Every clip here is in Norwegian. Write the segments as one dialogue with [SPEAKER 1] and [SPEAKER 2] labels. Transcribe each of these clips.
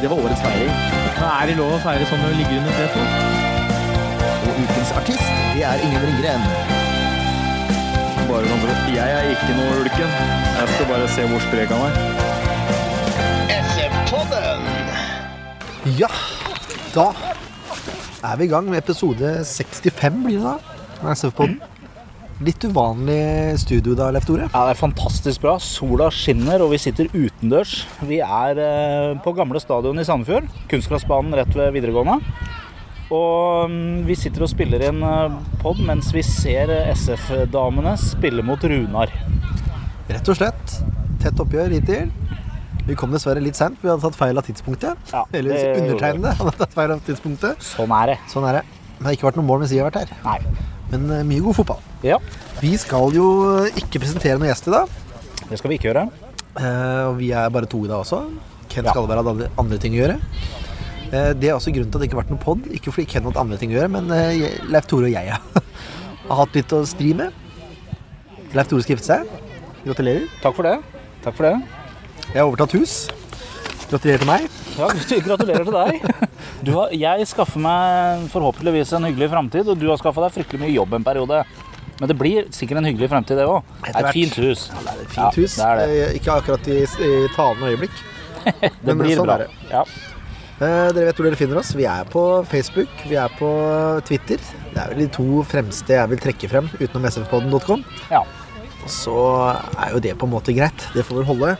[SPEAKER 1] Det var årets feiring.
[SPEAKER 2] Er det lov å feire sånn når du ligger under tre?
[SPEAKER 1] Og ukens artist, det er Ingen Ringgren.
[SPEAKER 3] Bare sånn for at Jeg er ikke noe ulken. Jeg skal bare se hvor sprek han er.
[SPEAKER 4] Ja, da er vi i gang med episode 65, blir det da? Med SF-podden. Litt uvanlig studio da, Leif Tore.
[SPEAKER 3] Ja, det er fantastisk bra. Sola skinner, og vi sitter utendørs. Vi er eh, på gamle stadion i Sandefjord. Kunstgressbanen rett ved videregående. Og mm, vi sitter og spiller inn pod mens vi ser eh, SF-damene spille mot Runar.
[SPEAKER 4] Rett og slett. Tett oppgjør hittil. Vi kom dessverre litt sent, vi hadde tatt feil av tidspunktet.
[SPEAKER 3] Ja,
[SPEAKER 4] Eller
[SPEAKER 3] det-
[SPEAKER 4] undertegnede hadde tatt feil av tidspunktet.
[SPEAKER 3] Sånn er det.
[SPEAKER 4] Sånn er det. Men det har ikke vært noe mål mens jeg har vært her.
[SPEAKER 3] Nei.
[SPEAKER 4] Men eh, mye god fotball.
[SPEAKER 3] Ja,
[SPEAKER 4] Vi skal jo eh, ikke presentere noen gjest i dag.
[SPEAKER 3] det skal vi ikke gjøre.
[SPEAKER 4] Eh, Og vi er bare to i dag også. Ken
[SPEAKER 3] Ja.
[SPEAKER 4] Skalleberg hadde andre- andre ting å gjøre. Eh, Det er også grunnen til at det ikke har vært noen pod. Ikke fordi Ken har hatt andre ting å gjøre, men eh, jeg- Leif Tore og jeg har hatt litt å stri med. Leif Tore skal gifte seg. Gratulerer.
[SPEAKER 3] Takk for det. Takk for det.
[SPEAKER 4] Jeg har overtatt hus. Gratulerer til meg.
[SPEAKER 3] Ja, gratulerer til deg. Du har, jeg skaffer meg forhåpentligvis en hyggelig framtid, og du har skaffa deg fryktelig mye jobb en periode. Men det blir sikkert en hyggelig framtid, det òg. Det er
[SPEAKER 4] Etter hvert.
[SPEAKER 3] et fint hus.
[SPEAKER 4] Det er et
[SPEAKER 3] Ja,
[SPEAKER 4] fint hus.
[SPEAKER 3] det er det.
[SPEAKER 4] Eh, Ikke akkurat i, i talende øyeblikk.
[SPEAKER 3] Det
[SPEAKER 4] Men
[SPEAKER 3] blir
[SPEAKER 4] sånn
[SPEAKER 3] bra.
[SPEAKER 4] er det.
[SPEAKER 3] Ja.
[SPEAKER 4] Eh, Dere vet hvor dere finner oss. Vi er på Facebook, vi er på eh, Twitter. Det er vel de to fremste jeg vil trekke frem utenom sfpodden.com.
[SPEAKER 3] ja.
[SPEAKER 4] Så er jo det på en måte greit. Det får vel holde.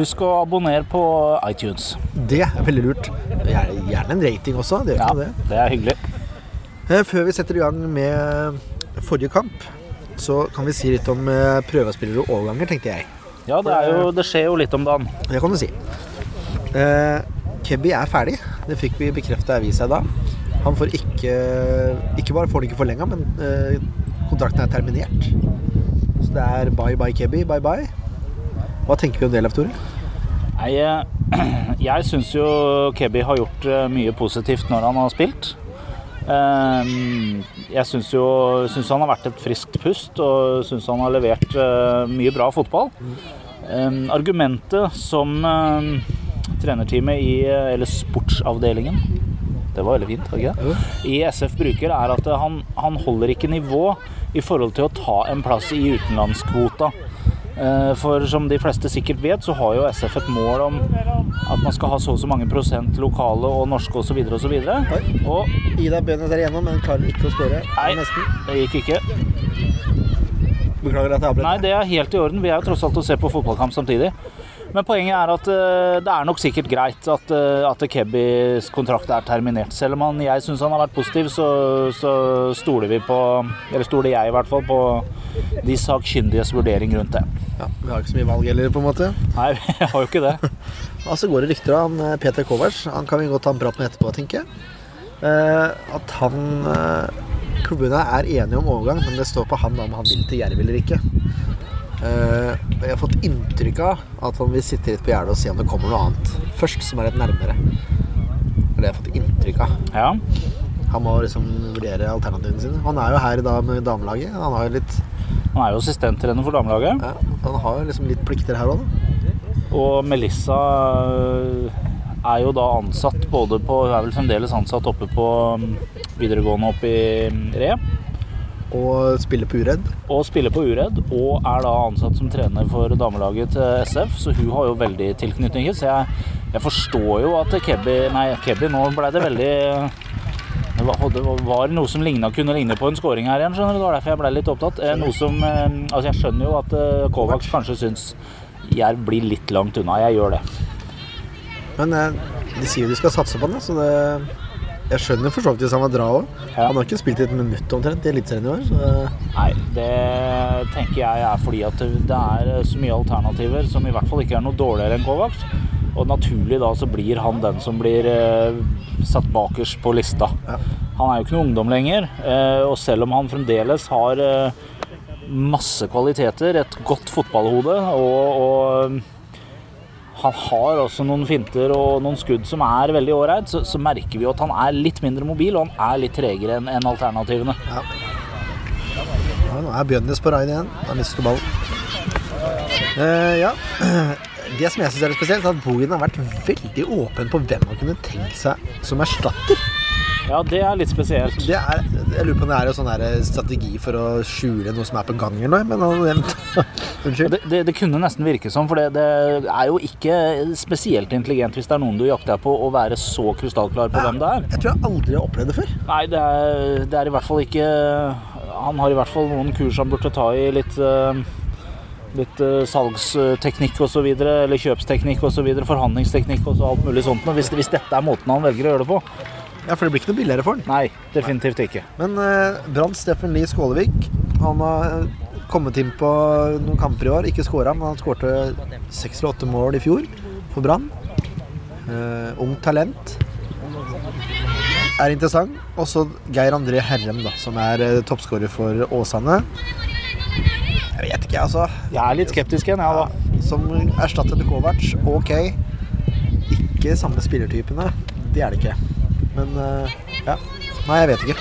[SPEAKER 3] Husk å abonnere på iTunes.
[SPEAKER 4] Det er veldig lurt. Gjerne, gjerne en rating også. Det gjør
[SPEAKER 3] Ja,
[SPEAKER 4] ikke noe,
[SPEAKER 3] det er hyggelig.
[SPEAKER 4] det. Eh, Før vi setter i gang med forrige kamp, så kan vi si litt om eh, prøvespillere og overganger, tenkte jeg.
[SPEAKER 3] Ja, det, er jo, det skjer jo litt om dagen.
[SPEAKER 4] Det kan du si. Eh, Kebby er ferdig. Det fikk vi bekrefta i avisa da. Han får ikke Ikke bare får han ikke forlenga, men eh, kontrakten er terminert. Så det er bye bye Kebby, bye bye. Hva tenker vi om det, Leif Tore?
[SPEAKER 3] Nei, eh, jeg syns jo Kebby har gjort eh, mye positivt når han har spilt. Eh, Jeg syns jo synes han har vært et friskt pust og syns han har levert eh, mye bra fotball. Eh, Argumentet som eh, trenerteamet i eh, Eller sportsavdelingen. Det var veldig fint, var det ikke det? I SF bruker er at eh, han, han holder ikke nivå i forhold til å ta en plass i utenlandskvota. Eh, For som de fleste sikkert vet, så har jo SF et mål om at man skal ha så og så mange prosent lokale og norske osv. osv.
[SPEAKER 4] Oi.
[SPEAKER 3] Og
[SPEAKER 4] Ida Bønes er igjennom, men klarer ikke å skåre.
[SPEAKER 3] Nei, det gikk ikke.
[SPEAKER 4] Beklager at jeg
[SPEAKER 3] Nei,
[SPEAKER 4] avbrøt.
[SPEAKER 3] det er helt i orden. Vi er jo tross alt og ser på fotballkamp samtidig. Men poenget er at eh, det er nok sikkert greit at, eh, at Kebbys kontrakt er terminert. Selv om han, jeg syns han har vært positiv, så, så stoler vi på Eller stoler jeg i hvert fall på de sakkyndiges vurdering rundt det.
[SPEAKER 4] Ja, vi har ikke så mye valg heller, på en måte.
[SPEAKER 3] Nei, jeg har jo ikke det.
[SPEAKER 4] Og så går det rykter om eh, Peter Kovac. Han kan vi godt ta en prat med etterpå, tenker jeg. Eh, at han eh, Klubbene er enige om overgang, men det står på han om han vil til Jerv eller ikke. Eh, og jeg har fått inntrykk av at han vil sitte litt på gjerdet og se om det kommer noe annet først, som er litt nærmere. Det er det jeg har fått inntrykk av.
[SPEAKER 3] Ja.
[SPEAKER 4] Han må liksom vurdere alternativene sine. Han er jo her i dag med damelaget. Han har jo litt,
[SPEAKER 3] Han er jo assistenttrener for damelaget.
[SPEAKER 4] ja, han har jo liksom litt plikter her òg, da.
[SPEAKER 3] Og Melissa øh, er jo da ansatt både på Hun er vel fremdeles ansatt oppe på mm, videregående oppe i mm, Re.
[SPEAKER 4] Og spiller på uredd.
[SPEAKER 3] Og spiller på Uredd, og er da ansatt som trener for damelaget til SF. Så hun har jo veldig tilknytninger. Så jeg, jeg forstår jo at Kebby Nei, Kebby, nå blei det veldig det var, det var noe som lignet, kunne ligne på en scoring her igjen, skjønner du. Det var derfor jeg ble litt opptatt. Eh, Noe som, eh, altså jeg skjønner jo at eh, Kovac kanskje syns Jerv blir litt langt unna. Jeg gjør det.
[SPEAKER 4] Men eh, de sier jo de skal satse på den, så det Jeg skjønner for så vidt hvis han var dra òg.
[SPEAKER 3] Ja.
[SPEAKER 4] Han har ikke spilt i et minutt omtrent i Eliteserien i år, så det-
[SPEAKER 3] Nei, det eh, tenker jeg er fordi at det er så mye alternativer som i hvert fall ikke er noe dårligere enn Kovac. Og naturlig da så blir han den som blir eh, satt bakerst på lista.
[SPEAKER 4] Ja.
[SPEAKER 3] Han er jo ikke noe ungdom lenger, eh, og selv om han fremdeles har eh, masse kvaliteter, et godt fotballhode og, og eh, han har også noen finter og noen skudd som er veldig ålreit, så, så merker vi jo at han er litt mindre mobil, og han er litt tregere enn enn alternativene.
[SPEAKER 4] Ja, nå er Bjønnes på raid igjen. Han mister ballen. Eh, ja. Det som jeg syns er litt spesielt, er at Bohin har vært veldig åpen på hvem han kunne tenkt seg som erstatter.
[SPEAKER 3] Ja, det er litt spesielt.
[SPEAKER 4] Det er, jeg lurer på om det er en sånn der strategi for å skjule noe som er på gang eller noe, men han Unnskyld.
[SPEAKER 3] Det, det, det kunne nesten virke sånn, for det, det er jo ikke spesielt intelligent hvis det er noen du jakter på, å være så krystallklar på hvem det er.
[SPEAKER 4] Jeg tror jeg aldri har opplevd det før.
[SPEAKER 3] Nei, det er, det er i hvert fall ikke Han har i hvert fall noen kurs han burde ta i litt eh, Litt eh, salgsteknikk og så videre, eller kjøpsteknikk og så videre, forhandlingsteknikk og så alt mulig sånt. Men hvis, hvis dette er måten han velger å gjøre det på
[SPEAKER 4] Ja, For det blir ikke noe billigere for han.
[SPEAKER 3] Nei, definitivt ikke.
[SPEAKER 4] Men eh, Brann Steffen Lie Skålevik, han har eh, kommet inn på noen kamper i år. Ikke skåra, men han skårte seks eller åtte mål i fjor for Brann. Eh, Ungt talent. Er interessant. Og så Geir André Herrem, da, som er eh, toppskårer for Åsane. Jeg vet ikke, altså.
[SPEAKER 3] Jeg er litt skeptisk igjen, jeg da.
[SPEAKER 4] Som erstatter til Kovac, ok. Ikke samme spillertypene. Det er det ikke. Men eh, ja. Nei, jeg vet ikke.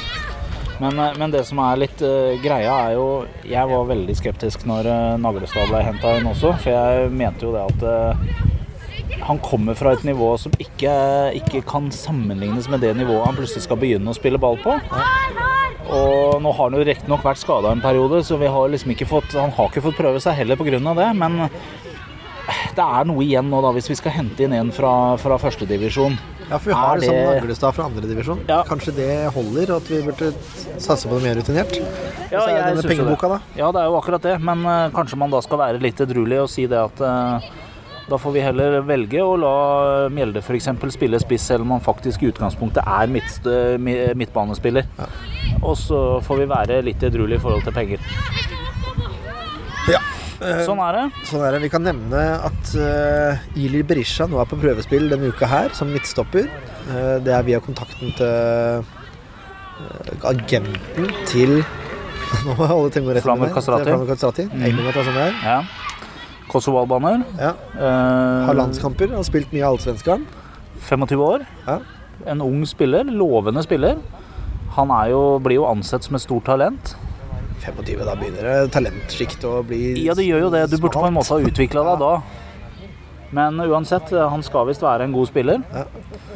[SPEAKER 3] Men, eh, men det som er litt eh, greia, er jo Jeg var veldig skeptisk når eh, Naglestad ble henta inn også, for jeg mente jo det at eh, han kommer fra et nivå som ikke, ikke kan sammenlignes med det nivået han plutselig skal begynne å spille ball på. Og nå har han jo riktignok vært skada en periode, så vi har liksom ikke fått, han har ikke fått prøve seg heller pga. det. Men eh, det er noe igjen nå, da, hvis vi skal hente inn en fra, fra førstedivisjon.
[SPEAKER 4] Ja, for vi har
[SPEAKER 3] Er
[SPEAKER 4] liksom
[SPEAKER 3] det-
[SPEAKER 4] Naglestad fra andredivisjon.
[SPEAKER 3] Ja.
[SPEAKER 4] Kanskje det holder, og at vi burde satse på det mer rutinert?
[SPEAKER 3] Ja,
[SPEAKER 4] så er
[SPEAKER 3] jeg
[SPEAKER 4] det denne
[SPEAKER 3] synes jo det.
[SPEAKER 4] pengeboka, da.
[SPEAKER 3] Ja, det er jo akkurat det, men eh, kanskje man da skal være litt edruelig og si det at eh, da får vi heller velge å la Mjelde f.eks. spille spiss, selv om han faktisk i utgangspunktet er midt, eh, mi- midtbanespiller. Og så får vi være litt edruelig i forhold til penger.
[SPEAKER 4] Ja.
[SPEAKER 3] Sånn er det.
[SPEAKER 4] Sånn er det. Vi kan nevne at uh, Ilir Berisha nå er på prøvespill denne uka her, som midtstopper. Eh, det er via kontakten til eh, agenten til Nå må jeg holde tunga rett i
[SPEAKER 3] Flamur Mm.
[SPEAKER 4] munnen.
[SPEAKER 3] Kastrati.
[SPEAKER 4] Det er Flamur Kastrati. England, at det er sånn det er.
[SPEAKER 3] Ja. Kosovo-albaner.
[SPEAKER 4] Ja.
[SPEAKER 3] eh,
[SPEAKER 4] Har landskamper, har spilt mye av Allsvenskan.
[SPEAKER 3] 25 år.
[SPEAKER 4] Ja.
[SPEAKER 3] En ung spiller. Lovende spiller. Han er jo, blir jo ansett som et stort talent.
[SPEAKER 4] 25, da begynner det talentsjikt å bli
[SPEAKER 3] Ja, det gjør jo det. Du burde på en
[SPEAKER 4] smalt.
[SPEAKER 3] måte ha utvikla deg da. Men uansett, han skal visst være en god spiller.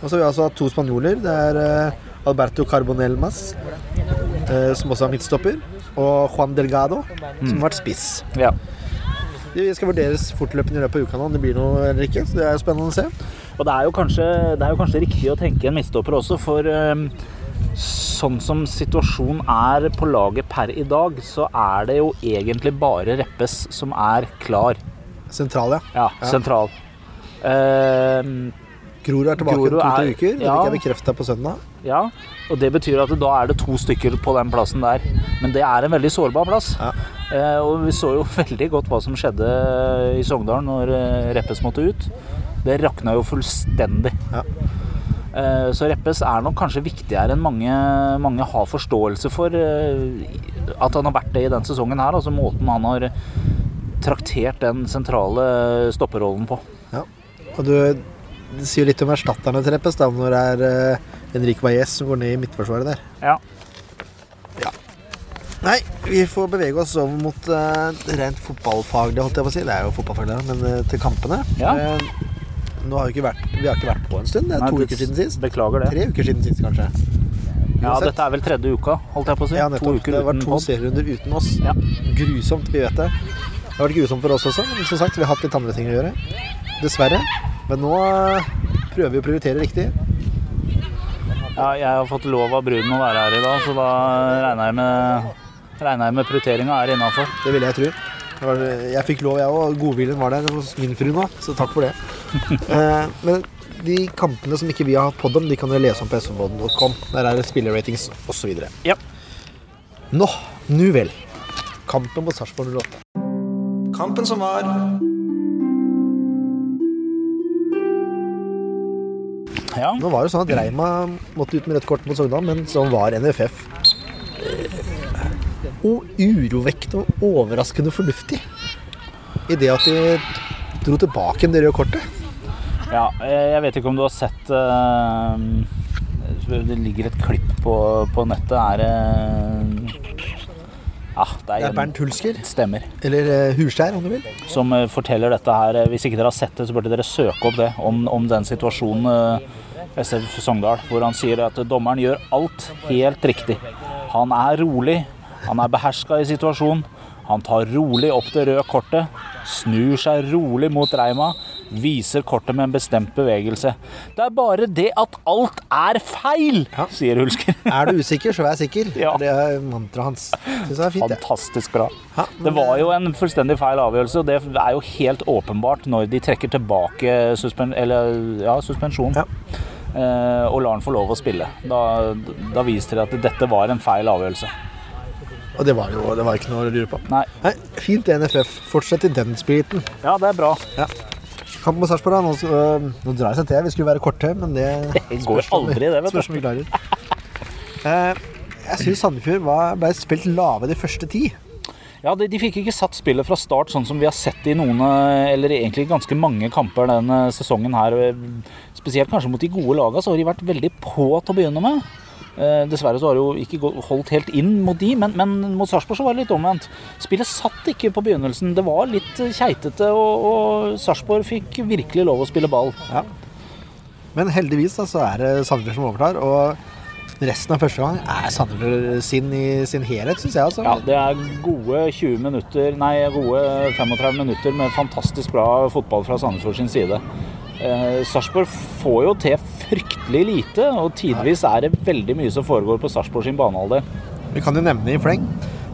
[SPEAKER 4] Og så har vi altså hatt to spanjoler. Det er eh, Alberto Carbonelmas, eh, som også er midtstopper, og Juan Delgado, som har vært spiss.
[SPEAKER 3] Ja.
[SPEAKER 4] De skal vurderes fortløpende i løpet av uka nå, om det blir noe eller ikke. Så det er jo spennende å se.
[SPEAKER 3] Og det er, jo kanskje, det er jo kanskje riktig å tenke en midtstopper også, for eh, sånn som situasjonen er på laget per i dag, så er det jo egentlig bare Reppes som er klar.
[SPEAKER 4] Sentral, ja.
[SPEAKER 3] Ja, sentral. Eh,
[SPEAKER 4] Grorud er tilbake om
[SPEAKER 3] Grorud
[SPEAKER 4] to-tre
[SPEAKER 3] er-
[SPEAKER 4] uker. Det
[SPEAKER 3] ja.
[SPEAKER 4] fikk jeg bekrefta på søndag.
[SPEAKER 3] Ja, og det betyr at da er det to stykker på den plassen der. Men det er en veldig sårbar plass.
[SPEAKER 4] Ja.
[SPEAKER 3] Eh, og vi så jo veldig godt hva som skjedde i Sogndal når eh, Reppes måtte ut. Det rakna jo fullstendig.
[SPEAKER 4] Ja.
[SPEAKER 3] Eh, så Reppes er nok kanskje viktigere enn mange, mange har forståelse for. Eh, at han har vært det i den sesongen her, altså måten han har traktert den sentrale stopperrollen på.
[SPEAKER 4] Ja. Og du det sier jo litt om erstatterne til Reppes, da, når det er uh, Henrik Valles som går ned i midtforsvaret der.
[SPEAKER 3] Ja.
[SPEAKER 4] Nei, vi får bevege oss over mot eh, rent fotballfaglig, holdt jeg på å si. Det er jo fotballfaglig, men eh, til kampene.
[SPEAKER 3] Ja.
[SPEAKER 4] Eh, nå har vi, ikke vært, vi har ikke vært på en stund. Det er
[SPEAKER 3] Nei,
[SPEAKER 4] to
[SPEAKER 3] det-
[SPEAKER 4] uker siden sist.
[SPEAKER 3] Beklager det.
[SPEAKER 4] Tre uker siden sist, kanskje.
[SPEAKER 3] Ja,
[SPEAKER 4] Uansett.
[SPEAKER 3] dette er vel tredje uka, holdt jeg på å si.
[SPEAKER 4] Ja,
[SPEAKER 3] to
[SPEAKER 4] nettopp.
[SPEAKER 3] uker
[SPEAKER 4] Det har vært
[SPEAKER 3] uten
[SPEAKER 4] to
[SPEAKER 3] podd.
[SPEAKER 4] serierunder uten oss.
[SPEAKER 3] Ja.
[SPEAKER 4] Grusomt, vi vet det. Det har vært grusomt for oss også, men som sagt, vi har hatt litt andre ting å gjøre. Dessverre. Men nå eh, prøver vi å prioritere riktig.
[SPEAKER 3] Ja, jeg har fått lov av bruden å være her i dag, så da regner jeg med, regner jeg med prioriteringa er innafor.
[SPEAKER 4] Det ville jeg tro. Det var- Jeg fikk lov, jeg òg. Godviljen var der hos min fru nå, så takk for det. Eh, Men de kampene som ikke vi har hatt podd om, de kan dere lese om på svbodden.com. Der er det spillerratings osv.
[SPEAKER 3] Ja.
[SPEAKER 4] Nå, nu vel. Kampen mot Sarpsborg 08. Kampen som var
[SPEAKER 3] Ja.
[SPEAKER 4] Nå var det jo sånn at Reima måtte ut med rødt kort mot Sogndal, men sånn var NFF. Eh, Og urovekkende og overraskende fornuftig i det at de dro tilbake det røde kortet.
[SPEAKER 3] Ja, eh, jeg vet ikke om du har sett eh, Det ligger et klipp på, på nettet. Er det Ja, det er,
[SPEAKER 4] Det er Bernt Hulsker,
[SPEAKER 3] Stemmer.
[SPEAKER 4] eller eh, Hurskjær om du vil.
[SPEAKER 3] Som eh, forteller dette her. Hvis ikke dere har sett det, så burde dere søke opp det. Om, om den situasjonen eh, SF Sogndal, hvor han sier at dommeren gjør alt helt riktig. Han er rolig, han er beherska i situasjonen. Han tar rolig opp det røde kortet, snur seg rolig mot Reima, viser kortet med en bestemt bevegelse. Det er bare det at alt er feil, sier Hulsker.
[SPEAKER 4] Er du usikker, så vær sikker.
[SPEAKER 3] Ja.
[SPEAKER 4] Det er mantraet hans. Syns jeg er fint, det.
[SPEAKER 3] Fantastisk bra.
[SPEAKER 4] Ja, men
[SPEAKER 3] Det var jo en fullstendig feil avgjørelse, og det er jo helt åpenbart når de trekker tilbake suspen eller, ja, suspensjonen
[SPEAKER 4] Ja.
[SPEAKER 3] eh, og lar han få lov å spille. Da, da viser det at dette var en feil avgjørelse.
[SPEAKER 4] Og det var jo det var ikke noe å lure på.
[SPEAKER 3] Nei.
[SPEAKER 4] Nei, fint NFF. Fortsett i den spiriten.
[SPEAKER 3] Ja, det er bra.
[SPEAKER 4] Kamp mot Sarpsborg, da. nå, øh, nå drar jeg seg til. Vi skulle være korte, men det
[SPEAKER 3] Det går aldri, det, vet du.
[SPEAKER 4] spørs om vi klarer. Eh, Jeg syns Sandefjord var- ble spilt lave de første ti.
[SPEAKER 3] Ja, de, de fikk ikke satt spillet fra start, sånn som vi har sett i noen, eh, eller egentlig ganske mange kamper denne sesongen her. Spesielt kanskje mot de gode lagene, så har de vært veldig på til å begynne med. Eh, Dessverre så har det jo ikke gå- holdt helt inn mot de, men, men mot Sarpsborg så var det litt omvendt. Spillet satt ikke på begynnelsen. Det var litt eh, keitete, og, og Sarpsborg fikk virkelig lov å spille ball.
[SPEAKER 4] Men heldigvis da, så er det Sandefjord som overtar. Og resten av første gang er Sandefjord sin i sin helhet, syns jeg. Altså.
[SPEAKER 3] Ja, det er gode 20 minutter, nei, gode 35 minutter med fantastisk bra fotball fra Sandefjord sin side. Eh, Sarpsborg får jo til fryktelig lite, og tidvis er det veldig mye som foregår på Sarpsborg sin banehalvdel.
[SPEAKER 4] Vi kan jo nevne i fleng.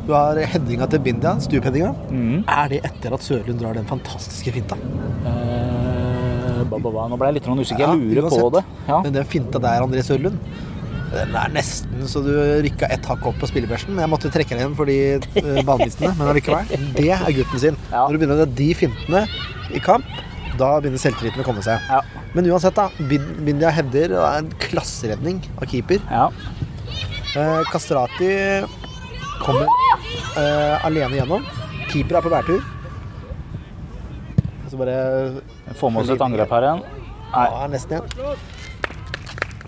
[SPEAKER 4] Du har headinga til Bindia, stupheadinga.
[SPEAKER 3] Mm.
[SPEAKER 4] Er det etter at Sørlund drar den fantastiske finta?
[SPEAKER 3] Eh, ba, ba, ba. Nå ble jeg litt sånn usikker.
[SPEAKER 4] Ja,
[SPEAKER 3] Jeg lurer på
[SPEAKER 4] uansett.
[SPEAKER 3] det. Ja.
[SPEAKER 4] Men den finta der, André Sørlund den er nesten så du rykka ett hakk opp på spillebørsen. Men Jeg måtte trekke den igjen for de eh, banevistene, men allikevel. Det er gutten sin.
[SPEAKER 3] Ja.
[SPEAKER 4] Når du begynner å ta de fintene i kamp, da begynner selvtilliten å komme seg.
[SPEAKER 3] Ja.
[SPEAKER 4] Men uansett, da. Bin- Bindia hevder og er en klasseredning av keeper.
[SPEAKER 3] Ja.
[SPEAKER 4] Eh, Kastrati kommer eh, alene gjennom. Keeper er på bærtur. Så bare
[SPEAKER 3] Jeg Får med oss et angrep her igjen. Nei.
[SPEAKER 4] ja, nesten igjen.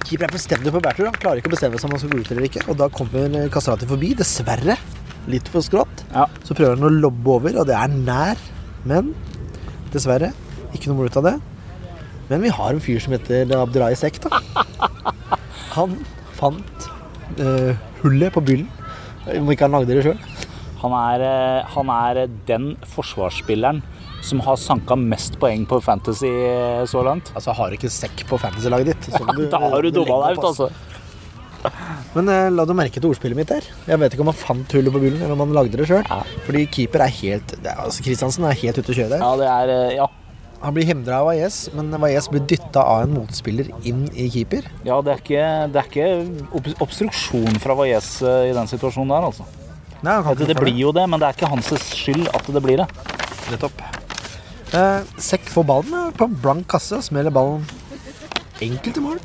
[SPEAKER 4] Keeper er fullstendig på bærtur. Han klarer ikke å bestemme seg om han skal gå ut eller ikke. Og da kommer Kastrati forbi, dessverre. Litt for skrått.
[SPEAKER 3] Ja.
[SPEAKER 4] Så prøver han å lobbe over, og det er nær. Men dessverre, ikke noe moro ut av det. Men vi har en fyr som heter Abdurai Sek, da. Han fant eh, hullet på byllen. Om ikke han lagde det sjøl.
[SPEAKER 3] Han er, eh, han er den forsvarsspilleren som har sanka mest poeng på Fantasy eh, så langt.
[SPEAKER 4] Altså, har du ikke sekk på fantasy-laget ditt, så må du-
[SPEAKER 3] Da har du dumma
[SPEAKER 4] legge
[SPEAKER 3] deg
[SPEAKER 4] opp,
[SPEAKER 3] ut, altså.
[SPEAKER 4] Men eh, la du merke til ordspillet mitt der? Jeg vet ikke om han fant hullet på bullen, eller om han lagde det sjøl.
[SPEAKER 3] Ja.
[SPEAKER 4] Fordi keeper er helt det er- altså Kristiansen er helt ute å kjøre der.
[SPEAKER 3] Ja, det er eh, Ja.
[SPEAKER 4] Han blir hindra av Wajez, men Wajez blir dytta av en motspiller inn i keeper.
[SPEAKER 3] Ja, det er ikke, det er ikke ob- obstruksjon fra Valles i den situasjonen der, altså.
[SPEAKER 4] Nei, han kan
[SPEAKER 3] Det, det
[SPEAKER 4] ikke
[SPEAKER 3] blir jo det, men det er ikke hans skyld at det blir det.
[SPEAKER 4] Nettopp. Eh, Sekk får ballen eh, på en blank kasse og smeller ballen enkelt i mål.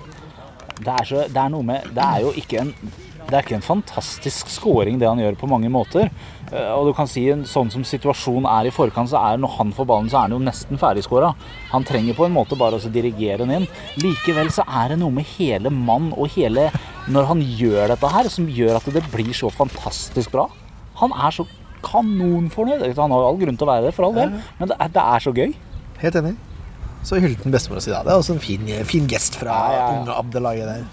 [SPEAKER 3] Det er, så, det er noe med Det er jo ikke en det er ikke en fantastisk scoring, det han gjør på mange måter. Eh, Og du kan si en sånn som situasjonen er i forkant, så er når han får ballen, så er han jo nesten ferdigskåra. Han trenger på en måte bare å dirigere den inn. Likevel så er det noe med hele mann og hele Når han gjør dette her, som gjør at det blir så fantastisk bra. Han er så kanonfornøyd. Han har jo all grunn til å være det, for all del, men det er, det er så gøy.
[SPEAKER 4] Helt enig. Så hylte han bestemora si da. Det er også en fin, fin gest fra
[SPEAKER 3] Ja, ja, ja.
[SPEAKER 4] unge Abdelaye der.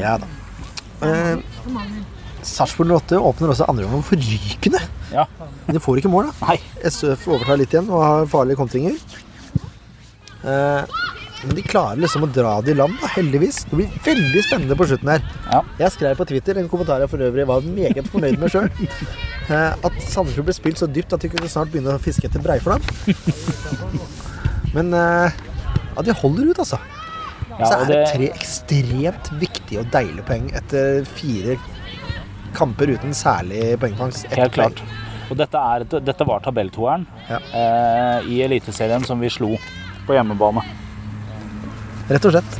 [SPEAKER 4] Ja da. Eh, Sarpsborg 08 åpner også andre omgang forrykende.
[SPEAKER 3] Ja.
[SPEAKER 4] Men de får ikke mål, da.
[SPEAKER 3] Nei.
[SPEAKER 4] SF overtar litt igjen og har farlige kontringer. Eh, men de klarer liksom å dra det i land, da, heldigvis. Det blir veldig spennende på slutten her.
[SPEAKER 3] Ja.
[SPEAKER 4] Jeg skrev på Twitter, en kommentar jeg for øvrig var meget fornøyd med sjøl, eh, at Sandefjord ble spilt så dypt at de kunne snart begynne å fiske etter breiflam. Men eh, ja, de holder ut, altså.
[SPEAKER 3] Ja,
[SPEAKER 4] Så
[SPEAKER 3] og
[SPEAKER 4] er det tre ekstremt viktige og deilige poeng etter fire kamper uten særlig poengfangst. Ett
[SPEAKER 3] Helt
[SPEAKER 4] poeng.
[SPEAKER 3] klart. Og dette, er, dette var tabelltoeren
[SPEAKER 4] Ja.
[SPEAKER 3] eh, i Eliteserien som vi slo på hjemmebane.
[SPEAKER 4] Rett og slett.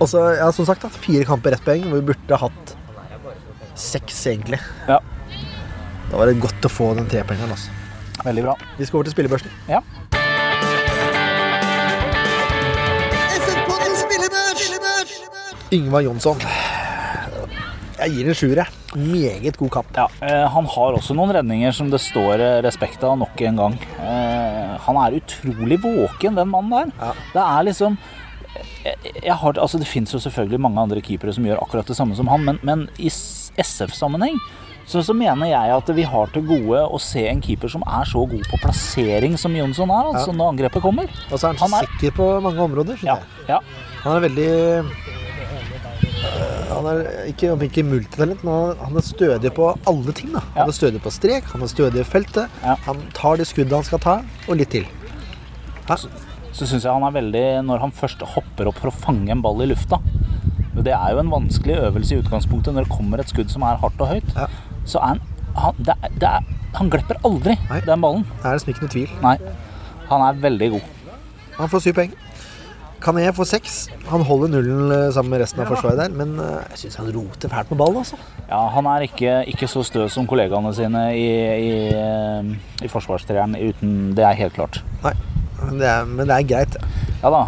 [SPEAKER 4] Og så, ja, som sagt, da, fire kamper ett poeng, hvor vi burde hatt seks, egentlig.
[SPEAKER 3] Ja.
[SPEAKER 4] Da var det godt å få den trepoengeren. Altså.
[SPEAKER 3] Veldig bra.
[SPEAKER 4] Vi skal over til spillebørsen.
[SPEAKER 3] Ja.
[SPEAKER 4] Yngvar Jonsson. Jeg gir en sjuer, jeg. Meget god kamp.
[SPEAKER 3] Ja, eh, han har også noen redninger som det står eh, respekt av nok en gang. Eh, han er utrolig våken, den mannen der.
[SPEAKER 4] Ja.
[SPEAKER 3] Det er liksom jeg, jeg har, altså Det fins jo selvfølgelig mange andre keepere som gjør akkurat det samme som han, men, men i SF-sammenheng så, så mener jeg at vi har til gode å se en keeper som er så god på plassering som Jonsson er, altså
[SPEAKER 4] Ja.
[SPEAKER 3] når angrepet kommer.
[SPEAKER 4] Og så er han,
[SPEAKER 3] Han er-
[SPEAKER 4] sikker på mange områder. synes
[SPEAKER 3] Ja,
[SPEAKER 4] jeg.
[SPEAKER 3] ja,
[SPEAKER 4] Han er veldig øh, han er ikke, om ikke multitalent, men han- han er stødig på alle ting. da. Han
[SPEAKER 3] Ja.
[SPEAKER 4] er stødig på strek, han er stødig i feltet.
[SPEAKER 3] Ja.
[SPEAKER 4] Han tar de skuddene han skal ta, og litt til.
[SPEAKER 3] så syns jeg han er veldig Når han først hopper opp for å fange en ball i lufta Det er jo en vanskelig øvelse i utgangspunktet når det kommer et skudd som er hardt og høyt.
[SPEAKER 4] Ja.
[SPEAKER 3] Så er han han, det er, det er, han glepper aldri
[SPEAKER 4] Nei.
[SPEAKER 3] den ballen.
[SPEAKER 4] Det er liksom ikke noe tvil.
[SPEAKER 3] Nei. Han er veldig god.
[SPEAKER 4] Han får syv poeng. Kané får seks. Han holder nullen øh, sammen med resten av forsvaret der, men øh, jeg syns han roter fælt med ballen, altså.
[SPEAKER 3] Ja, han er ikke, ikke så stø som kollegaene sine i, i, eh, i forsvarstreeren. Uten, det er helt klart.
[SPEAKER 4] Nei, men det er, men det er greit.
[SPEAKER 3] Ja da.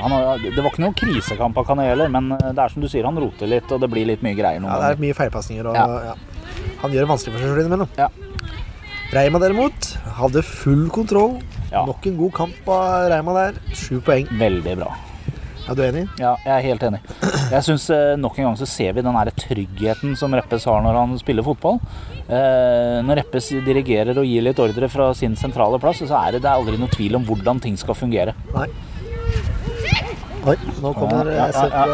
[SPEAKER 3] Han har, det var ikke noen krisekamp av Kane heller, men eh, det er som du sier, han roter litt, og det blir litt mye greier noen
[SPEAKER 4] Ja, det er
[SPEAKER 3] ganger.
[SPEAKER 4] mye feilpasninger. Og,
[SPEAKER 3] Ja.
[SPEAKER 4] ja. Han gjør det vanskelig for seg selv innimellom.
[SPEAKER 3] Ja.
[SPEAKER 4] Reima derimot hadde full kontroll.
[SPEAKER 3] Ja.
[SPEAKER 4] Nok en god kamp av Reima der. Sju poeng.
[SPEAKER 3] Veldig bra.
[SPEAKER 4] Er du enig?
[SPEAKER 3] Ja, jeg er helt enig. Jeg synes eh, Nok en gang så ser vi den her tryggheten som Reppes har når han spiller fotball. Eh, Når Reppes dirigerer og gir litt ordre fra sin sentrale plass, så er det, det er aldri noe tvil om hvordan ting skal fungere.
[SPEAKER 4] Nei. Oi, nå kommer
[SPEAKER 3] Ja, ja,
[SPEAKER 4] SF.
[SPEAKER 3] ja,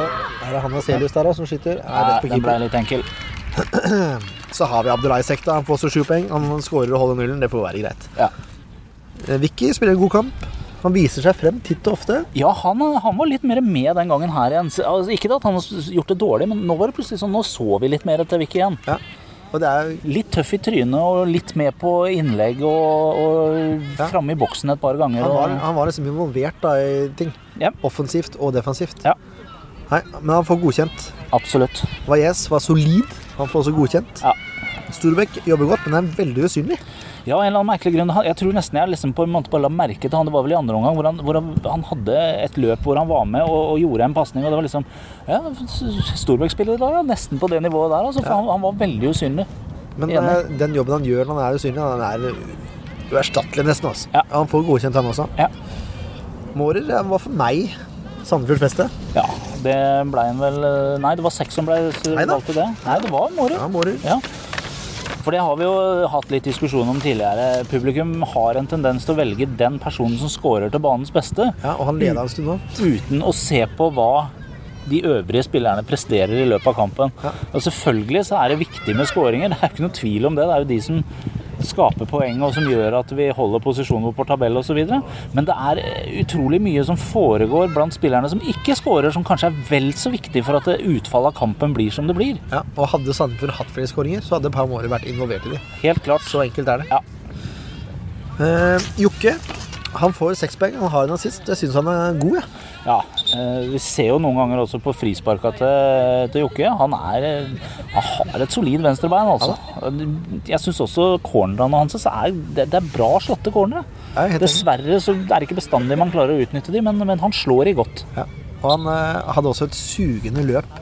[SPEAKER 4] Er det han og Celius der da, som skyter? Er rett på
[SPEAKER 3] Eh, den ble
[SPEAKER 4] keeper.
[SPEAKER 3] litt enkel.
[SPEAKER 4] Så har vi Abdullah Sekta. Han får også sju poeng. Han skårer og holder nullen. Det får være greit.
[SPEAKER 3] Ja,
[SPEAKER 4] Eh, Vicky spiller en god kamp. Han viser seg frem titt og ofte.
[SPEAKER 3] ja han, eh, han var litt mer med den gangen her igjen. Så, Altså, ikke at han har s- gjort det dårlig, men nå var det plutselig sånn, nå så vi litt mer til Vicky igjen.
[SPEAKER 4] Ja. Og det er
[SPEAKER 3] Litt tøff i trynet og litt med på innlegg og, og
[SPEAKER 4] Ja.
[SPEAKER 3] framme i boksen et par ganger.
[SPEAKER 4] Han var,
[SPEAKER 3] Og,
[SPEAKER 4] han var liksom involvert da, i ting.
[SPEAKER 3] Ja.
[SPEAKER 4] Offensivt og defensivt.
[SPEAKER 3] Ja.
[SPEAKER 4] Nei, men han får godkjent.
[SPEAKER 3] absolutt.
[SPEAKER 4] Valles var solid. Han får også godkjent.
[SPEAKER 3] Ja.
[SPEAKER 4] Storbekk jobber godt, men er veldig usynlig.
[SPEAKER 3] Ja, en eller annen merkelig grunn. Han- Jeg tror nesten jeg liksom på en måte bare la merke til han. Det var vel i andre omgang hvor han, hvor han, han hadde et løp hvor han var med og, og gjorde en pasning. Og det var liksom Ja, Storbekk spiller i dag, ja. Nesten på det nivået der. Altså, for han, han var veldig usynlig.
[SPEAKER 4] Men
[SPEAKER 3] Enig.
[SPEAKER 4] eh, den jobben han gjør når han er usynlig, han er uerstattelig nesten. Altså.
[SPEAKER 3] Ja.
[SPEAKER 4] Han får godkjent, han også.
[SPEAKER 3] Ja.
[SPEAKER 4] Mårer eh, var for meg Sandefjords beste.
[SPEAKER 3] ja det ble han vel eh, Nei, det var seks som ble s-
[SPEAKER 4] Nei da.
[SPEAKER 3] valgt til det. Nei, det var Mårud.
[SPEAKER 4] Ja, Mårer.
[SPEAKER 3] Ja. For det har vi jo hatt litt diskusjon om tidligere. Publikum har en tendens til å velge den personen som scorer til banens beste,
[SPEAKER 4] Ja, og han leda en stund nå.
[SPEAKER 3] uten å se på hva de øvrige spillerne presterer i løpet av kampen.
[SPEAKER 4] Ja.
[SPEAKER 3] Og selvfølgelig så er det viktig med skåringer, det er ikke noe tvil om det. Det er jo de som skaper poeng og som gjør at vi holder posisjonen vår på tabell osv. Men det er utrolig mye som foregår blant spillerne som ikke skårer, som kanskje er vel så viktig for at det utfallet av kampen blir som det blir.
[SPEAKER 4] Ja, og hadde Sandefjord hatt flere skåringer, så hadde Pau Mårer vært involvert i dem.
[SPEAKER 3] Helt klart.
[SPEAKER 4] Så enkelt er det.
[SPEAKER 3] Ja.
[SPEAKER 4] Eh, Jokke han får seks poeng. Han har en assist. Jeg syns han er god. jeg.
[SPEAKER 3] Ja, eh, vi ser jo noen ganger også på frisparka til, til Jokke. Han, er, eh, han har et solid venstrebein, altså. Jeg syns også cornerne hans så er det, det er bra slåtte cornere.
[SPEAKER 4] Jeg er helt enig.
[SPEAKER 3] Dessverre så er det ikke bestandig man klarer å utnytte de, men, men han slår i godt.
[SPEAKER 4] Ja. Og han eh, hadde også et sugende løp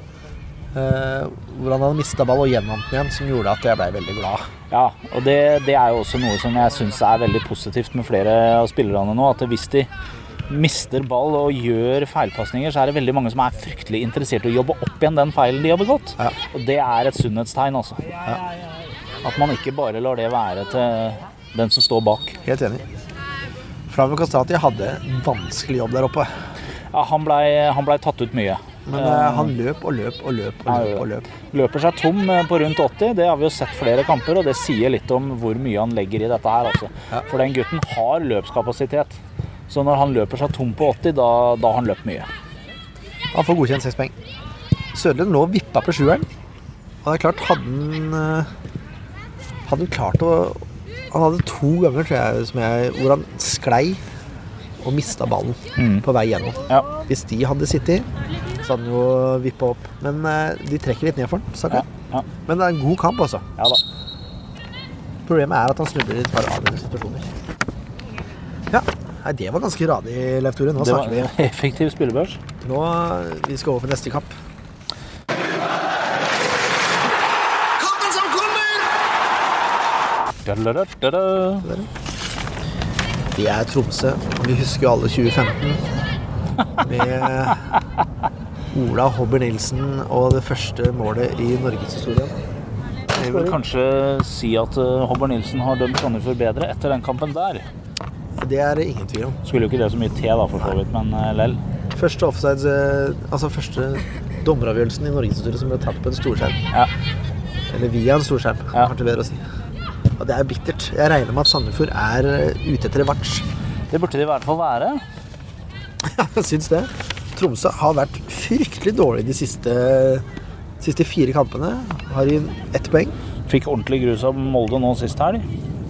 [SPEAKER 4] eh, hvor han hadde mista ball og gjenvant den igjen, som gjorde at jeg ble veldig glad.
[SPEAKER 3] Ja, og det, det er jo også noe som jeg syns er veldig positivt med flere av spillerne nå. At hvis de mister ball og gjør feilpasninger, så er det veldig mange som er fryktelig interessert i å jobbe opp igjen den feilen de har begått.
[SPEAKER 4] Ja.
[SPEAKER 3] Og det er et sunnhetstegn, altså. At man ikke bare lar det være til den som står bak.
[SPEAKER 4] Helt enig. Flavio Castati hadde en vanskelig jobb der oppe.
[SPEAKER 3] Ja, han blei han blei tatt ut mye.
[SPEAKER 4] Men eh, han løp og løp og løp og
[SPEAKER 3] Ja,
[SPEAKER 4] løp.
[SPEAKER 3] ja.
[SPEAKER 4] og løp.
[SPEAKER 3] Løper seg tom eh, på rundt 80. Det har vi jo sett flere kamper, og det sier litt om hvor mye han legger i dette her. Altså.
[SPEAKER 4] Ja.
[SPEAKER 3] For den gutten har løpskapasitet. Så når han løper seg tom på 80, da, da har han løpt mye.
[SPEAKER 4] Han får godkjent seks poeng. Sørlund lå og vippa på sjueren. Og det er klart, hadde han eh, Hadde han klart å Han hadde to ganger tror jeg, som jeg, hvor han
[SPEAKER 3] Mm.
[SPEAKER 4] sklei og mista ballen på vei gjennom.
[SPEAKER 3] Ja.
[SPEAKER 4] Hvis de hadde sittet, så han jo vippa opp. Men eh, de trekker litt ned for han, stakkar.
[SPEAKER 3] Ja, ja.
[SPEAKER 4] Men det er en god kamp, altså.
[SPEAKER 3] Ja da.
[SPEAKER 4] Problemet er at han snubler i et par avgjørende situasjoner. Ja, nei, det var ganske radig, Leif Tore. Nå
[SPEAKER 3] Det var
[SPEAKER 4] snakker vi.
[SPEAKER 3] effektiv spillebørs.
[SPEAKER 4] Nå, eh, vi skal over på neste kamp.
[SPEAKER 1] Kampen som kommer!
[SPEAKER 3] Da-da-da-da-da.
[SPEAKER 4] Det er Tromsø. og Vi husker jo alle 2015 med Ola Hobber Nilsen og det første målet i norgeshistorien.
[SPEAKER 3] Jeg vil kanskje si at eh, Håvard Nilsen har dømt Sandefjord bedre etter den kampen der.
[SPEAKER 4] Det er det ingen tvil om.
[SPEAKER 3] Skulle jo ikke det så mye til, da, for så vidt, men eh, lell.
[SPEAKER 4] Første offsides, eh, altså første dommeravgjørelsen i norgeshistorien som ble tatt på en storskjerm.
[SPEAKER 3] Ja.
[SPEAKER 4] Eller via en storskjerm,
[SPEAKER 3] Ja.
[SPEAKER 4] kanskje bedre å si. Og det er bittert. Jeg regner med at Sandefjord er eh, ute etter revansj.
[SPEAKER 3] Det burde det i hvert fall være.
[SPEAKER 4] Jeg syns det. Tromsø har vært fryktelig dårlig de siste, siste fire kampene. Har i ett poeng.
[SPEAKER 3] Fikk ordentlig grus av Molde nå sist helg.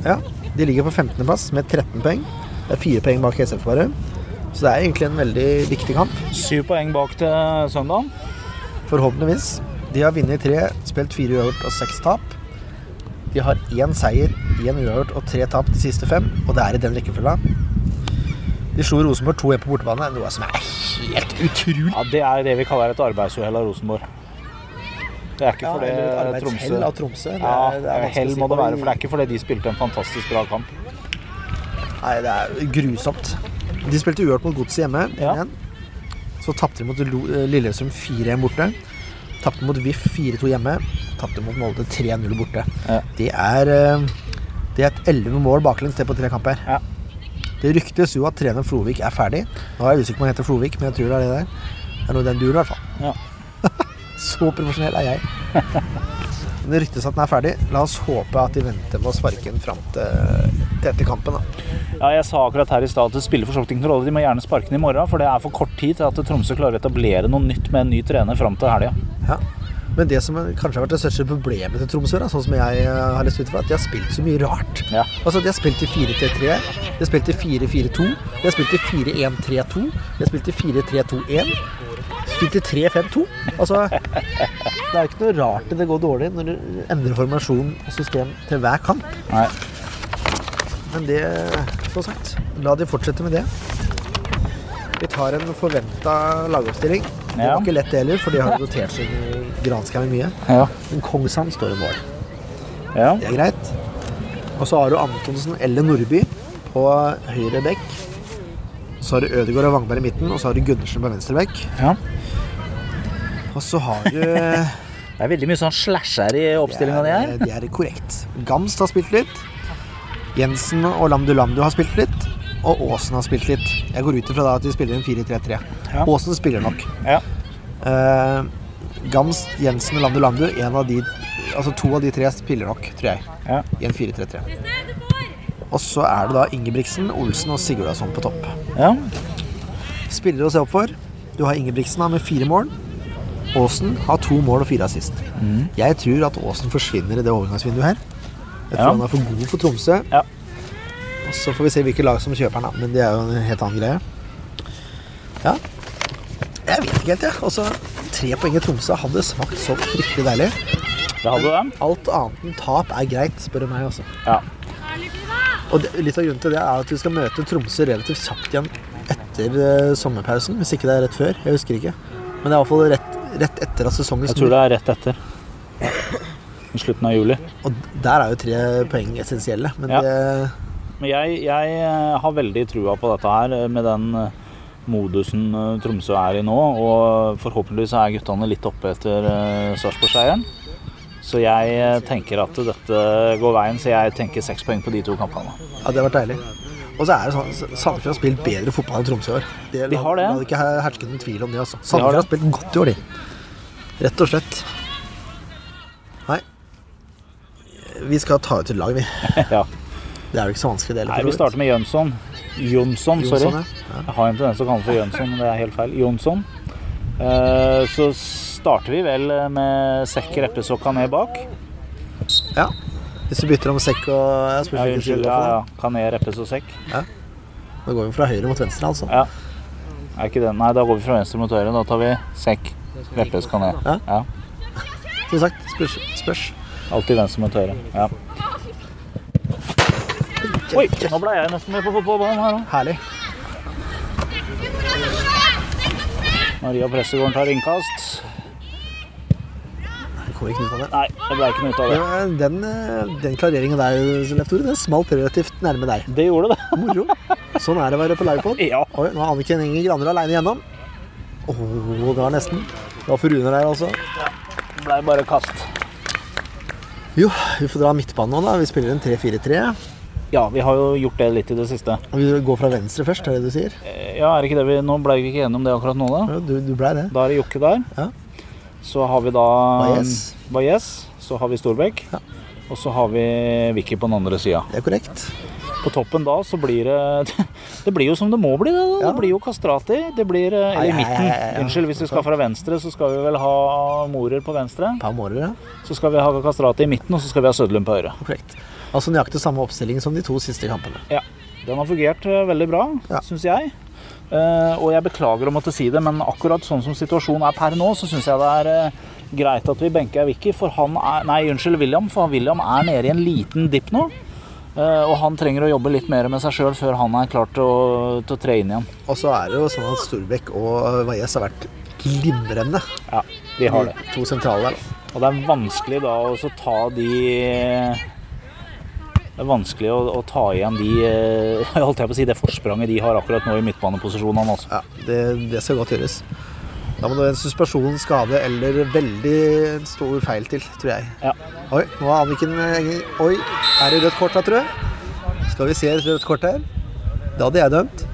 [SPEAKER 4] Ja, de ligger på 15. plass med 13 poeng. Det er fire poeng bak SF bare. Så det er egentlig en veldig viktig kamp,
[SPEAKER 3] Syv poeng bak til eh, søndagen.
[SPEAKER 4] forhåpentligvis. De har vunnet tre, spilt fire uavgjort og seks tap. De har én seier, én uavgjort og tre tap de siste fem, og det er i den rekkefølga. De slo Rosenborg 2-1 på bortebane, noe som er helt utrolig.
[SPEAKER 3] Ja, Det er det vi kaller et arbeidsuhell av Rosenborg. Det er ikke
[SPEAKER 4] Ja,
[SPEAKER 3] fordi
[SPEAKER 4] eller et
[SPEAKER 3] Tromsø
[SPEAKER 4] arbeidshell av Tromsø. Det
[SPEAKER 3] Ja,
[SPEAKER 4] er- det er vanskelig
[SPEAKER 3] hell
[SPEAKER 4] å si
[SPEAKER 3] må det
[SPEAKER 4] på.
[SPEAKER 3] være, for det er ikke fordi de spilte en fantastisk bra kamp.
[SPEAKER 4] Nei, det er grusomt. De spilte uavgjort mot Godset hjemme.
[SPEAKER 3] Ja.
[SPEAKER 4] 1-1. Så tapte de mot Lo- eh, Lillestrøm 4-1 borte. Tapte mot VIF 4-2 hjemme. Tapte mot Molde 3-0 borte.
[SPEAKER 3] Ja.
[SPEAKER 4] Det er eh, Det er et 11 mål baklengs det på tre kamper.
[SPEAKER 3] Ja.
[SPEAKER 4] Det ryktes jo at trener Flovik er ferdig. Nå er jeg usikker på om han heter Flovik, men jeg tror det er det der. Det er noe i den duren, i hvert fall.
[SPEAKER 3] Ja.
[SPEAKER 4] Så profesjonell er jeg. Men Det ryktes at den er ferdig. La oss håpe at de venter med å sparke den fram til, til etter kampen. da
[SPEAKER 3] Ja, Jeg sa akkurat her i stad at det spiller for så vidt ingen rolle. De må gjerne sparke den i morgen, for det er for kort tid til at Tromsø klarer å etablere noe nytt med en ny trener fram til helga.
[SPEAKER 4] Ja. Men det som kanskje har vært det største problemet til Tromsø, da, sånn som jeg eh, har lest ut fra, at de har spilt så mye rart.
[SPEAKER 3] Ja.
[SPEAKER 4] Altså, De har spilt i 4-3-3, de har spilt i 4-4-2, de har spilt i 4-1-3-2, de har spilt i 4-3-2-1, spilt i 3-5-2. Altså, det er jo ikke noe rart det går dårlig når du endrer formasjon og system til hver kamp.
[SPEAKER 3] Nei.
[SPEAKER 4] Men det, som sagt, la de fortsette med det. Vi tar en forventa lagoppstilling. Det
[SPEAKER 3] Ja.
[SPEAKER 4] var ikke lett det heller, for de har rotert seg granskauen mye.
[SPEAKER 3] Ja.
[SPEAKER 4] Men Kongshamn står i mål.
[SPEAKER 3] ja.
[SPEAKER 4] Det er greit. Og så har du Antonsen eller Nordby på høyre bekk. Så har du Ødegaard og Wangberg i midten, og så har du Gundersen på venstre bekk.
[SPEAKER 3] ja.
[SPEAKER 4] Og så har du ja,
[SPEAKER 3] Det er veldig mye sånn slasher i oppstillinga di her.
[SPEAKER 4] Det er korrekt. Gamst har spilt litt. Jensen og Lamdu Lamdu har spilt litt. Og Aasen har spilt litt. Jeg går ut ifra da at de spiller en 4-3-3.
[SPEAKER 3] Ja.
[SPEAKER 4] Aasen spiller nok.
[SPEAKER 3] Ja.
[SPEAKER 4] Eh, Gamst, Jensen og Landu Landu, en av de, altså to av de tre spiller nok, tror jeg.
[SPEAKER 3] Ja.
[SPEAKER 4] I en 4-3-3. Og så er det da Ingebrigtsen, Olsen og Sigurdasson på topp.
[SPEAKER 3] ja.
[SPEAKER 4] Spillere å se opp for. Du har Ingebrigtsen da, med fire mål. Aasen har to mål og fire assist. Jeg tror at Aasen forsvinner i det overgangsvinduet her. Jeg tror
[SPEAKER 3] Ja.
[SPEAKER 4] han er for god for Tromsø.
[SPEAKER 3] Ja.
[SPEAKER 4] Og så får vi se hvilke lag som kjøper han, da. Men det er jo en helt annen greie. Ja. Jeg vet ikke helt, jeg. Og så tre poeng i Tromsø hadde smakt så fryktelig deilig.
[SPEAKER 3] Det hadde dem.
[SPEAKER 4] Alt annet enn tap er greit, spør du meg altså. også.
[SPEAKER 3] Ja.
[SPEAKER 4] Og det, litt av grunnen til det er at vi skal møte Tromsø relativt kjapt igjen etter eh, sommerpausen. Hvis ikke det er rett før. Jeg husker ikke. Men det er iallfall rett, rett etter at sesongen
[SPEAKER 3] Jeg tror det er rett etter. I slutten av juli.
[SPEAKER 4] Og der er jo tre poeng essensielle. Men
[SPEAKER 3] Ja.
[SPEAKER 4] det,
[SPEAKER 3] Men jeg, jeg eh, har veldig trua på dette her, eh, med den eh, modusen eh, Tromsø er i nå. Og forhåpentligvis er guttene litt oppe etter eh, Sarpsborg-seieren. Så jeg eh, tenker at dette går veien, så jeg tenker seks poeng på de to kampene.
[SPEAKER 4] ja, det har vært deilig. Og så er det sånn Sandefjord har spilt bedre fotball enn Tromsø i år. Det,
[SPEAKER 3] De har det.
[SPEAKER 4] La det ikke herske noen tvil om det. altså.
[SPEAKER 3] har
[SPEAKER 4] Sandefjord har spilt godt i år, de. Rett og slett. Nei. Vi skal ta ut et lag, vi.
[SPEAKER 3] ja.
[SPEAKER 4] Det er jo ikke så vanskelig, det heller.
[SPEAKER 3] Nei, vi starter med Jønsson. Jonsson, sorry.
[SPEAKER 4] Jonsson, ja.
[SPEAKER 3] Jeg har en tendens til å kalle ham for Jønsson, men det er helt feil. Jonsson. Eh, Så starter vi vel eh, med Sekk Reppesokka ned bak.
[SPEAKER 4] Ja. Hvis du bytter om sekk og jeg
[SPEAKER 3] Ja,
[SPEAKER 4] spiller ikke
[SPEAKER 3] unnskyld.
[SPEAKER 4] skylda
[SPEAKER 3] Ja,
[SPEAKER 4] for
[SPEAKER 3] ja. Kané, Reppes og Sekk.
[SPEAKER 4] det. Nå går vi fra høyre mot venstre, altså.
[SPEAKER 3] Ja. Er ikke det? Nei, da går vi fra venstre mot høyre. Da tar vi sekk, Kleppes, Kané.
[SPEAKER 4] Ja.
[SPEAKER 3] Ja.
[SPEAKER 4] Som sagt, spørs. spørs.
[SPEAKER 3] Alltid venstre mot høyre. Ja. Oi, nå ble jeg nesten med på fotballbanen her òg.
[SPEAKER 4] Herlig.
[SPEAKER 3] Maria Pressegården tar innkast.
[SPEAKER 4] Jeg kommer ikke ut av det.
[SPEAKER 3] Nei, det ble ikke noe ut av det.
[SPEAKER 4] Ja, Den, eh, den klareringen der, Leif Tore, den smalt relativt nærme deg.
[SPEAKER 3] Det gjorde det.
[SPEAKER 4] Moro. Sånn er det å være på livepod.
[SPEAKER 3] Ja.
[SPEAKER 4] Oi, nå er Anniken Inger Graner aleine igjennom. Å, det var nesten. Det var for Rune der, altså.
[SPEAKER 3] Det ble bare kast.
[SPEAKER 4] Jo, vi får dra midtbanen nå, da. Vi spiller en 3-4-3.
[SPEAKER 3] Ja, vi har jo gjort det litt i det siste.
[SPEAKER 4] Og Vi går fra venstre først, er det det du sier?
[SPEAKER 3] Eh, Ja, er det ikke det vi Nå ble vi ikke enige om det akkurat nå, da.
[SPEAKER 4] Ja, Du, du blei det.
[SPEAKER 3] Da er det Jokke der.
[SPEAKER 4] Ja.
[SPEAKER 3] Så har vi da
[SPEAKER 4] Baez.
[SPEAKER 3] Baez. Så har vi Storbekk.
[SPEAKER 4] Ja.
[SPEAKER 3] Og så har vi Vicky på den andre sida.
[SPEAKER 4] Det er korrekt.
[SPEAKER 3] På toppen da så blir det Det blir jo som det må bli, det. da.
[SPEAKER 4] Ja.
[SPEAKER 3] Det blir jo kastrati. Det blir eh, Eller
[SPEAKER 4] Ai,
[SPEAKER 3] i
[SPEAKER 4] ai,
[SPEAKER 3] midten.
[SPEAKER 4] ai, ai, ai.
[SPEAKER 3] Unnskyld, hvis vi skal fra venstre, så skal vi vel ha Morer på venstre.
[SPEAKER 4] Par måler, ja.
[SPEAKER 3] Så skal vi ha Kastrati i midten, og så skal vi ha Sødlund på høyre.
[SPEAKER 4] Korrekt. Altså nøyaktig samme oppstilling som de to siste kampene.
[SPEAKER 3] Ja, den har fungert eh, veldig bra,
[SPEAKER 4] Ja.
[SPEAKER 3] synes syns jeg. Eh, og jeg beklager å måtte si det, men akkurat sånn som situasjonen er per nå, så syns jeg det er eh, greit at vi benker Vicky, for han er Nei, unnskyld, William, for William er nede i en liten dipp nå. eh, og han trenger å jobbe litt mer med seg sjøl før han er klar til å, til å tre inn igjen.
[SPEAKER 4] Og så er det jo sånn at Storbekk og Valles har vært glimrende.
[SPEAKER 3] Ja, de har det.
[SPEAKER 4] De to sentrale der. da.
[SPEAKER 3] Og det er vanskelig da å så ta de Det er vanskelig å, å ta igjen de eh, Holdt jeg på å si det forspranget de har akkurat nå i midtbaneposisjonene også.
[SPEAKER 4] Ja, det, det skal godt gjøres. Da må det en suspensjon, skade eller veldig stor feil til, tror jeg.
[SPEAKER 3] Ja.
[SPEAKER 4] Oi, nå er Anniken Enger Oi, er det rødt kort da, tror jeg? Skal vi se et rødt kort her? Det hadde jeg dømt.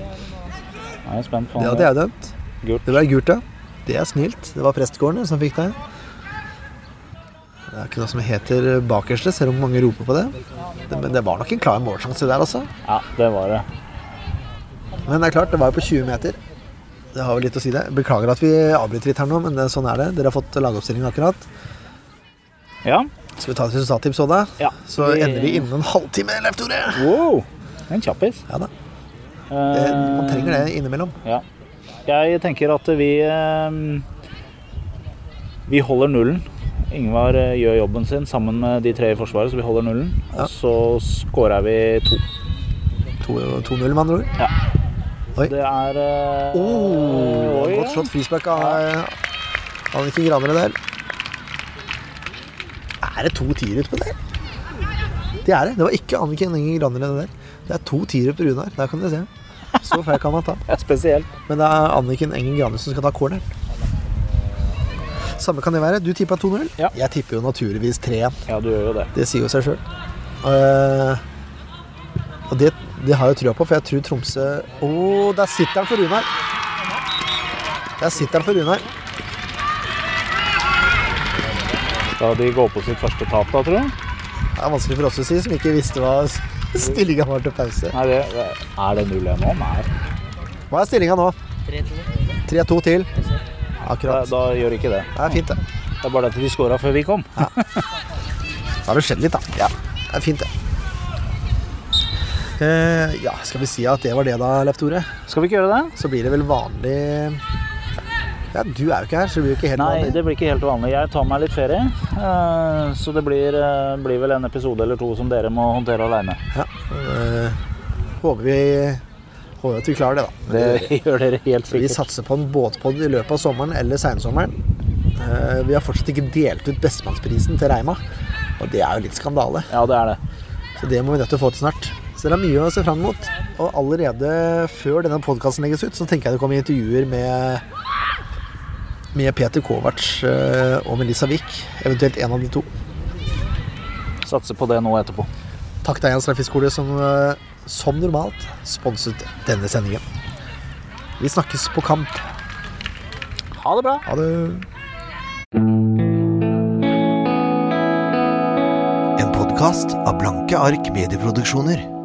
[SPEAKER 3] Jeg er spent på
[SPEAKER 4] Det
[SPEAKER 3] om
[SPEAKER 4] hadde jeg dømt.
[SPEAKER 3] Gult.
[SPEAKER 4] Det ble gult, ja. Det er snilt. Det var prestegårdene som fikk det. Det er ikke noe som heter bakerste, selv om mange roper på det. Det- Men det var nok en klar målsjanse der, altså.
[SPEAKER 3] Ja, det var det.
[SPEAKER 4] Men det er klart, det var jo på 20 meter. Det har vel litt å si, det. Beklager at vi avbryter litt her nå, men det, sånn er det. Dere har fått lagoppstillingen akkurat.
[SPEAKER 3] Ja.
[SPEAKER 4] Skal vi ta et resultattips òg, da?
[SPEAKER 3] Ja.
[SPEAKER 4] Så
[SPEAKER 3] Vi-
[SPEAKER 4] ender vi innen en halvtime, Leif Tore.
[SPEAKER 3] Wow! Det er en kjappis.
[SPEAKER 4] Ja da.
[SPEAKER 3] Eh,
[SPEAKER 4] Det, man trenger det innimellom.
[SPEAKER 3] Ja. Jeg tenker at vi eh, Vi holder nullen. Ingvar eh, gjør jobben sin sammen med de tre i Forsvaret, så vi holder nullen.
[SPEAKER 4] Ja.
[SPEAKER 3] Og så skårer vi to.
[SPEAKER 4] To- 2-0, med andre ord.
[SPEAKER 3] Det er eh,
[SPEAKER 4] Oh,
[SPEAKER 3] oi,
[SPEAKER 4] godt
[SPEAKER 3] ja.
[SPEAKER 4] slått frispark av eh, Anniken Granere der. Er det to tiere på der? Det er det. Det var ikke Anniken Enger Granere det der. Det er to tiere på Runar. Der kan dere se. Så feil kan man ta.
[SPEAKER 3] Det er spesielt.
[SPEAKER 4] Men det er Anniken Engen Graner som skal ta corneren. Samme kan det være. Du tippa 2-0.
[SPEAKER 3] Ja.
[SPEAKER 4] Jeg tipper jo naturligvis 3-1.
[SPEAKER 3] Ja, du gjør jo det.
[SPEAKER 4] Det sier jo seg sjøl. og det, det har jeg trua på, for jeg tror Tromsø Å, der sitter han for Runar! Der sitter han for Runar.
[SPEAKER 3] Da de går på sitt første tap, da, tror jeg.
[SPEAKER 4] Det er vanskelig for oss å si, som ikke visste hva stillinga var til pause.
[SPEAKER 3] Nei, det, det, er det 0-1 nå? Nei.
[SPEAKER 4] Hva er stillinga nå? 3-2 til.
[SPEAKER 3] Da,
[SPEAKER 4] Akkurat.
[SPEAKER 3] da gjør ikke det.
[SPEAKER 4] Det er fint, det.
[SPEAKER 3] Det er bare det at de skåra før vi kom.
[SPEAKER 4] Da har det skjedd litt, da. Det er fint, det. Eh, ja, skal vi si at det var det, da, Leif Tore?
[SPEAKER 3] Skal vi ikke gjøre det?
[SPEAKER 4] Så blir det vel vanlig Ja, du er jo ikke her, så det blir jo ikke helt
[SPEAKER 3] Nei,
[SPEAKER 4] vanlig.
[SPEAKER 3] det blir ikke helt vanlig. Jeg tar meg litt ferie, eh, så det blir, eh, blir vel en episode eller to som dere må håndtere aleine.
[SPEAKER 4] Ja, øh, håper vi Håper at vi klarer det, da.
[SPEAKER 3] Det gjør dere helt
[SPEAKER 4] Vi
[SPEAKER 3] sikkert.
[SPEAKER 4] satser på en båtpod i løpet av sommeren eller seinsommeren. Eh, vi har fortsatt ikke delt ut Bestemannsprisen til Reima, og det er jo litt skandale.
[SPEAKER 3] Ja, det er det.
[SPEAKER 4] Så det må vi nødt til å få til snart. Så det er mye å se fram mot. Og allerede før denne podkasten legges ut, så tenker jeg det kommer intervjuer med med Peter Kovac eh, og Melissa Wiik, eventuelt en av de to.
[SPEAKER 3] Satser på det nå etterpå.
[SPEAKER 4] Takk til Eians Trafikkskole som eh, som normalt sponset denne sendingen. Vi snakkes på kamp.
[SPEAKER 3] Ha det bra.
[SPEAKER 4] Ha det.
[SPEAKER 1] En podkast av Blanke ark medieproduksjoner.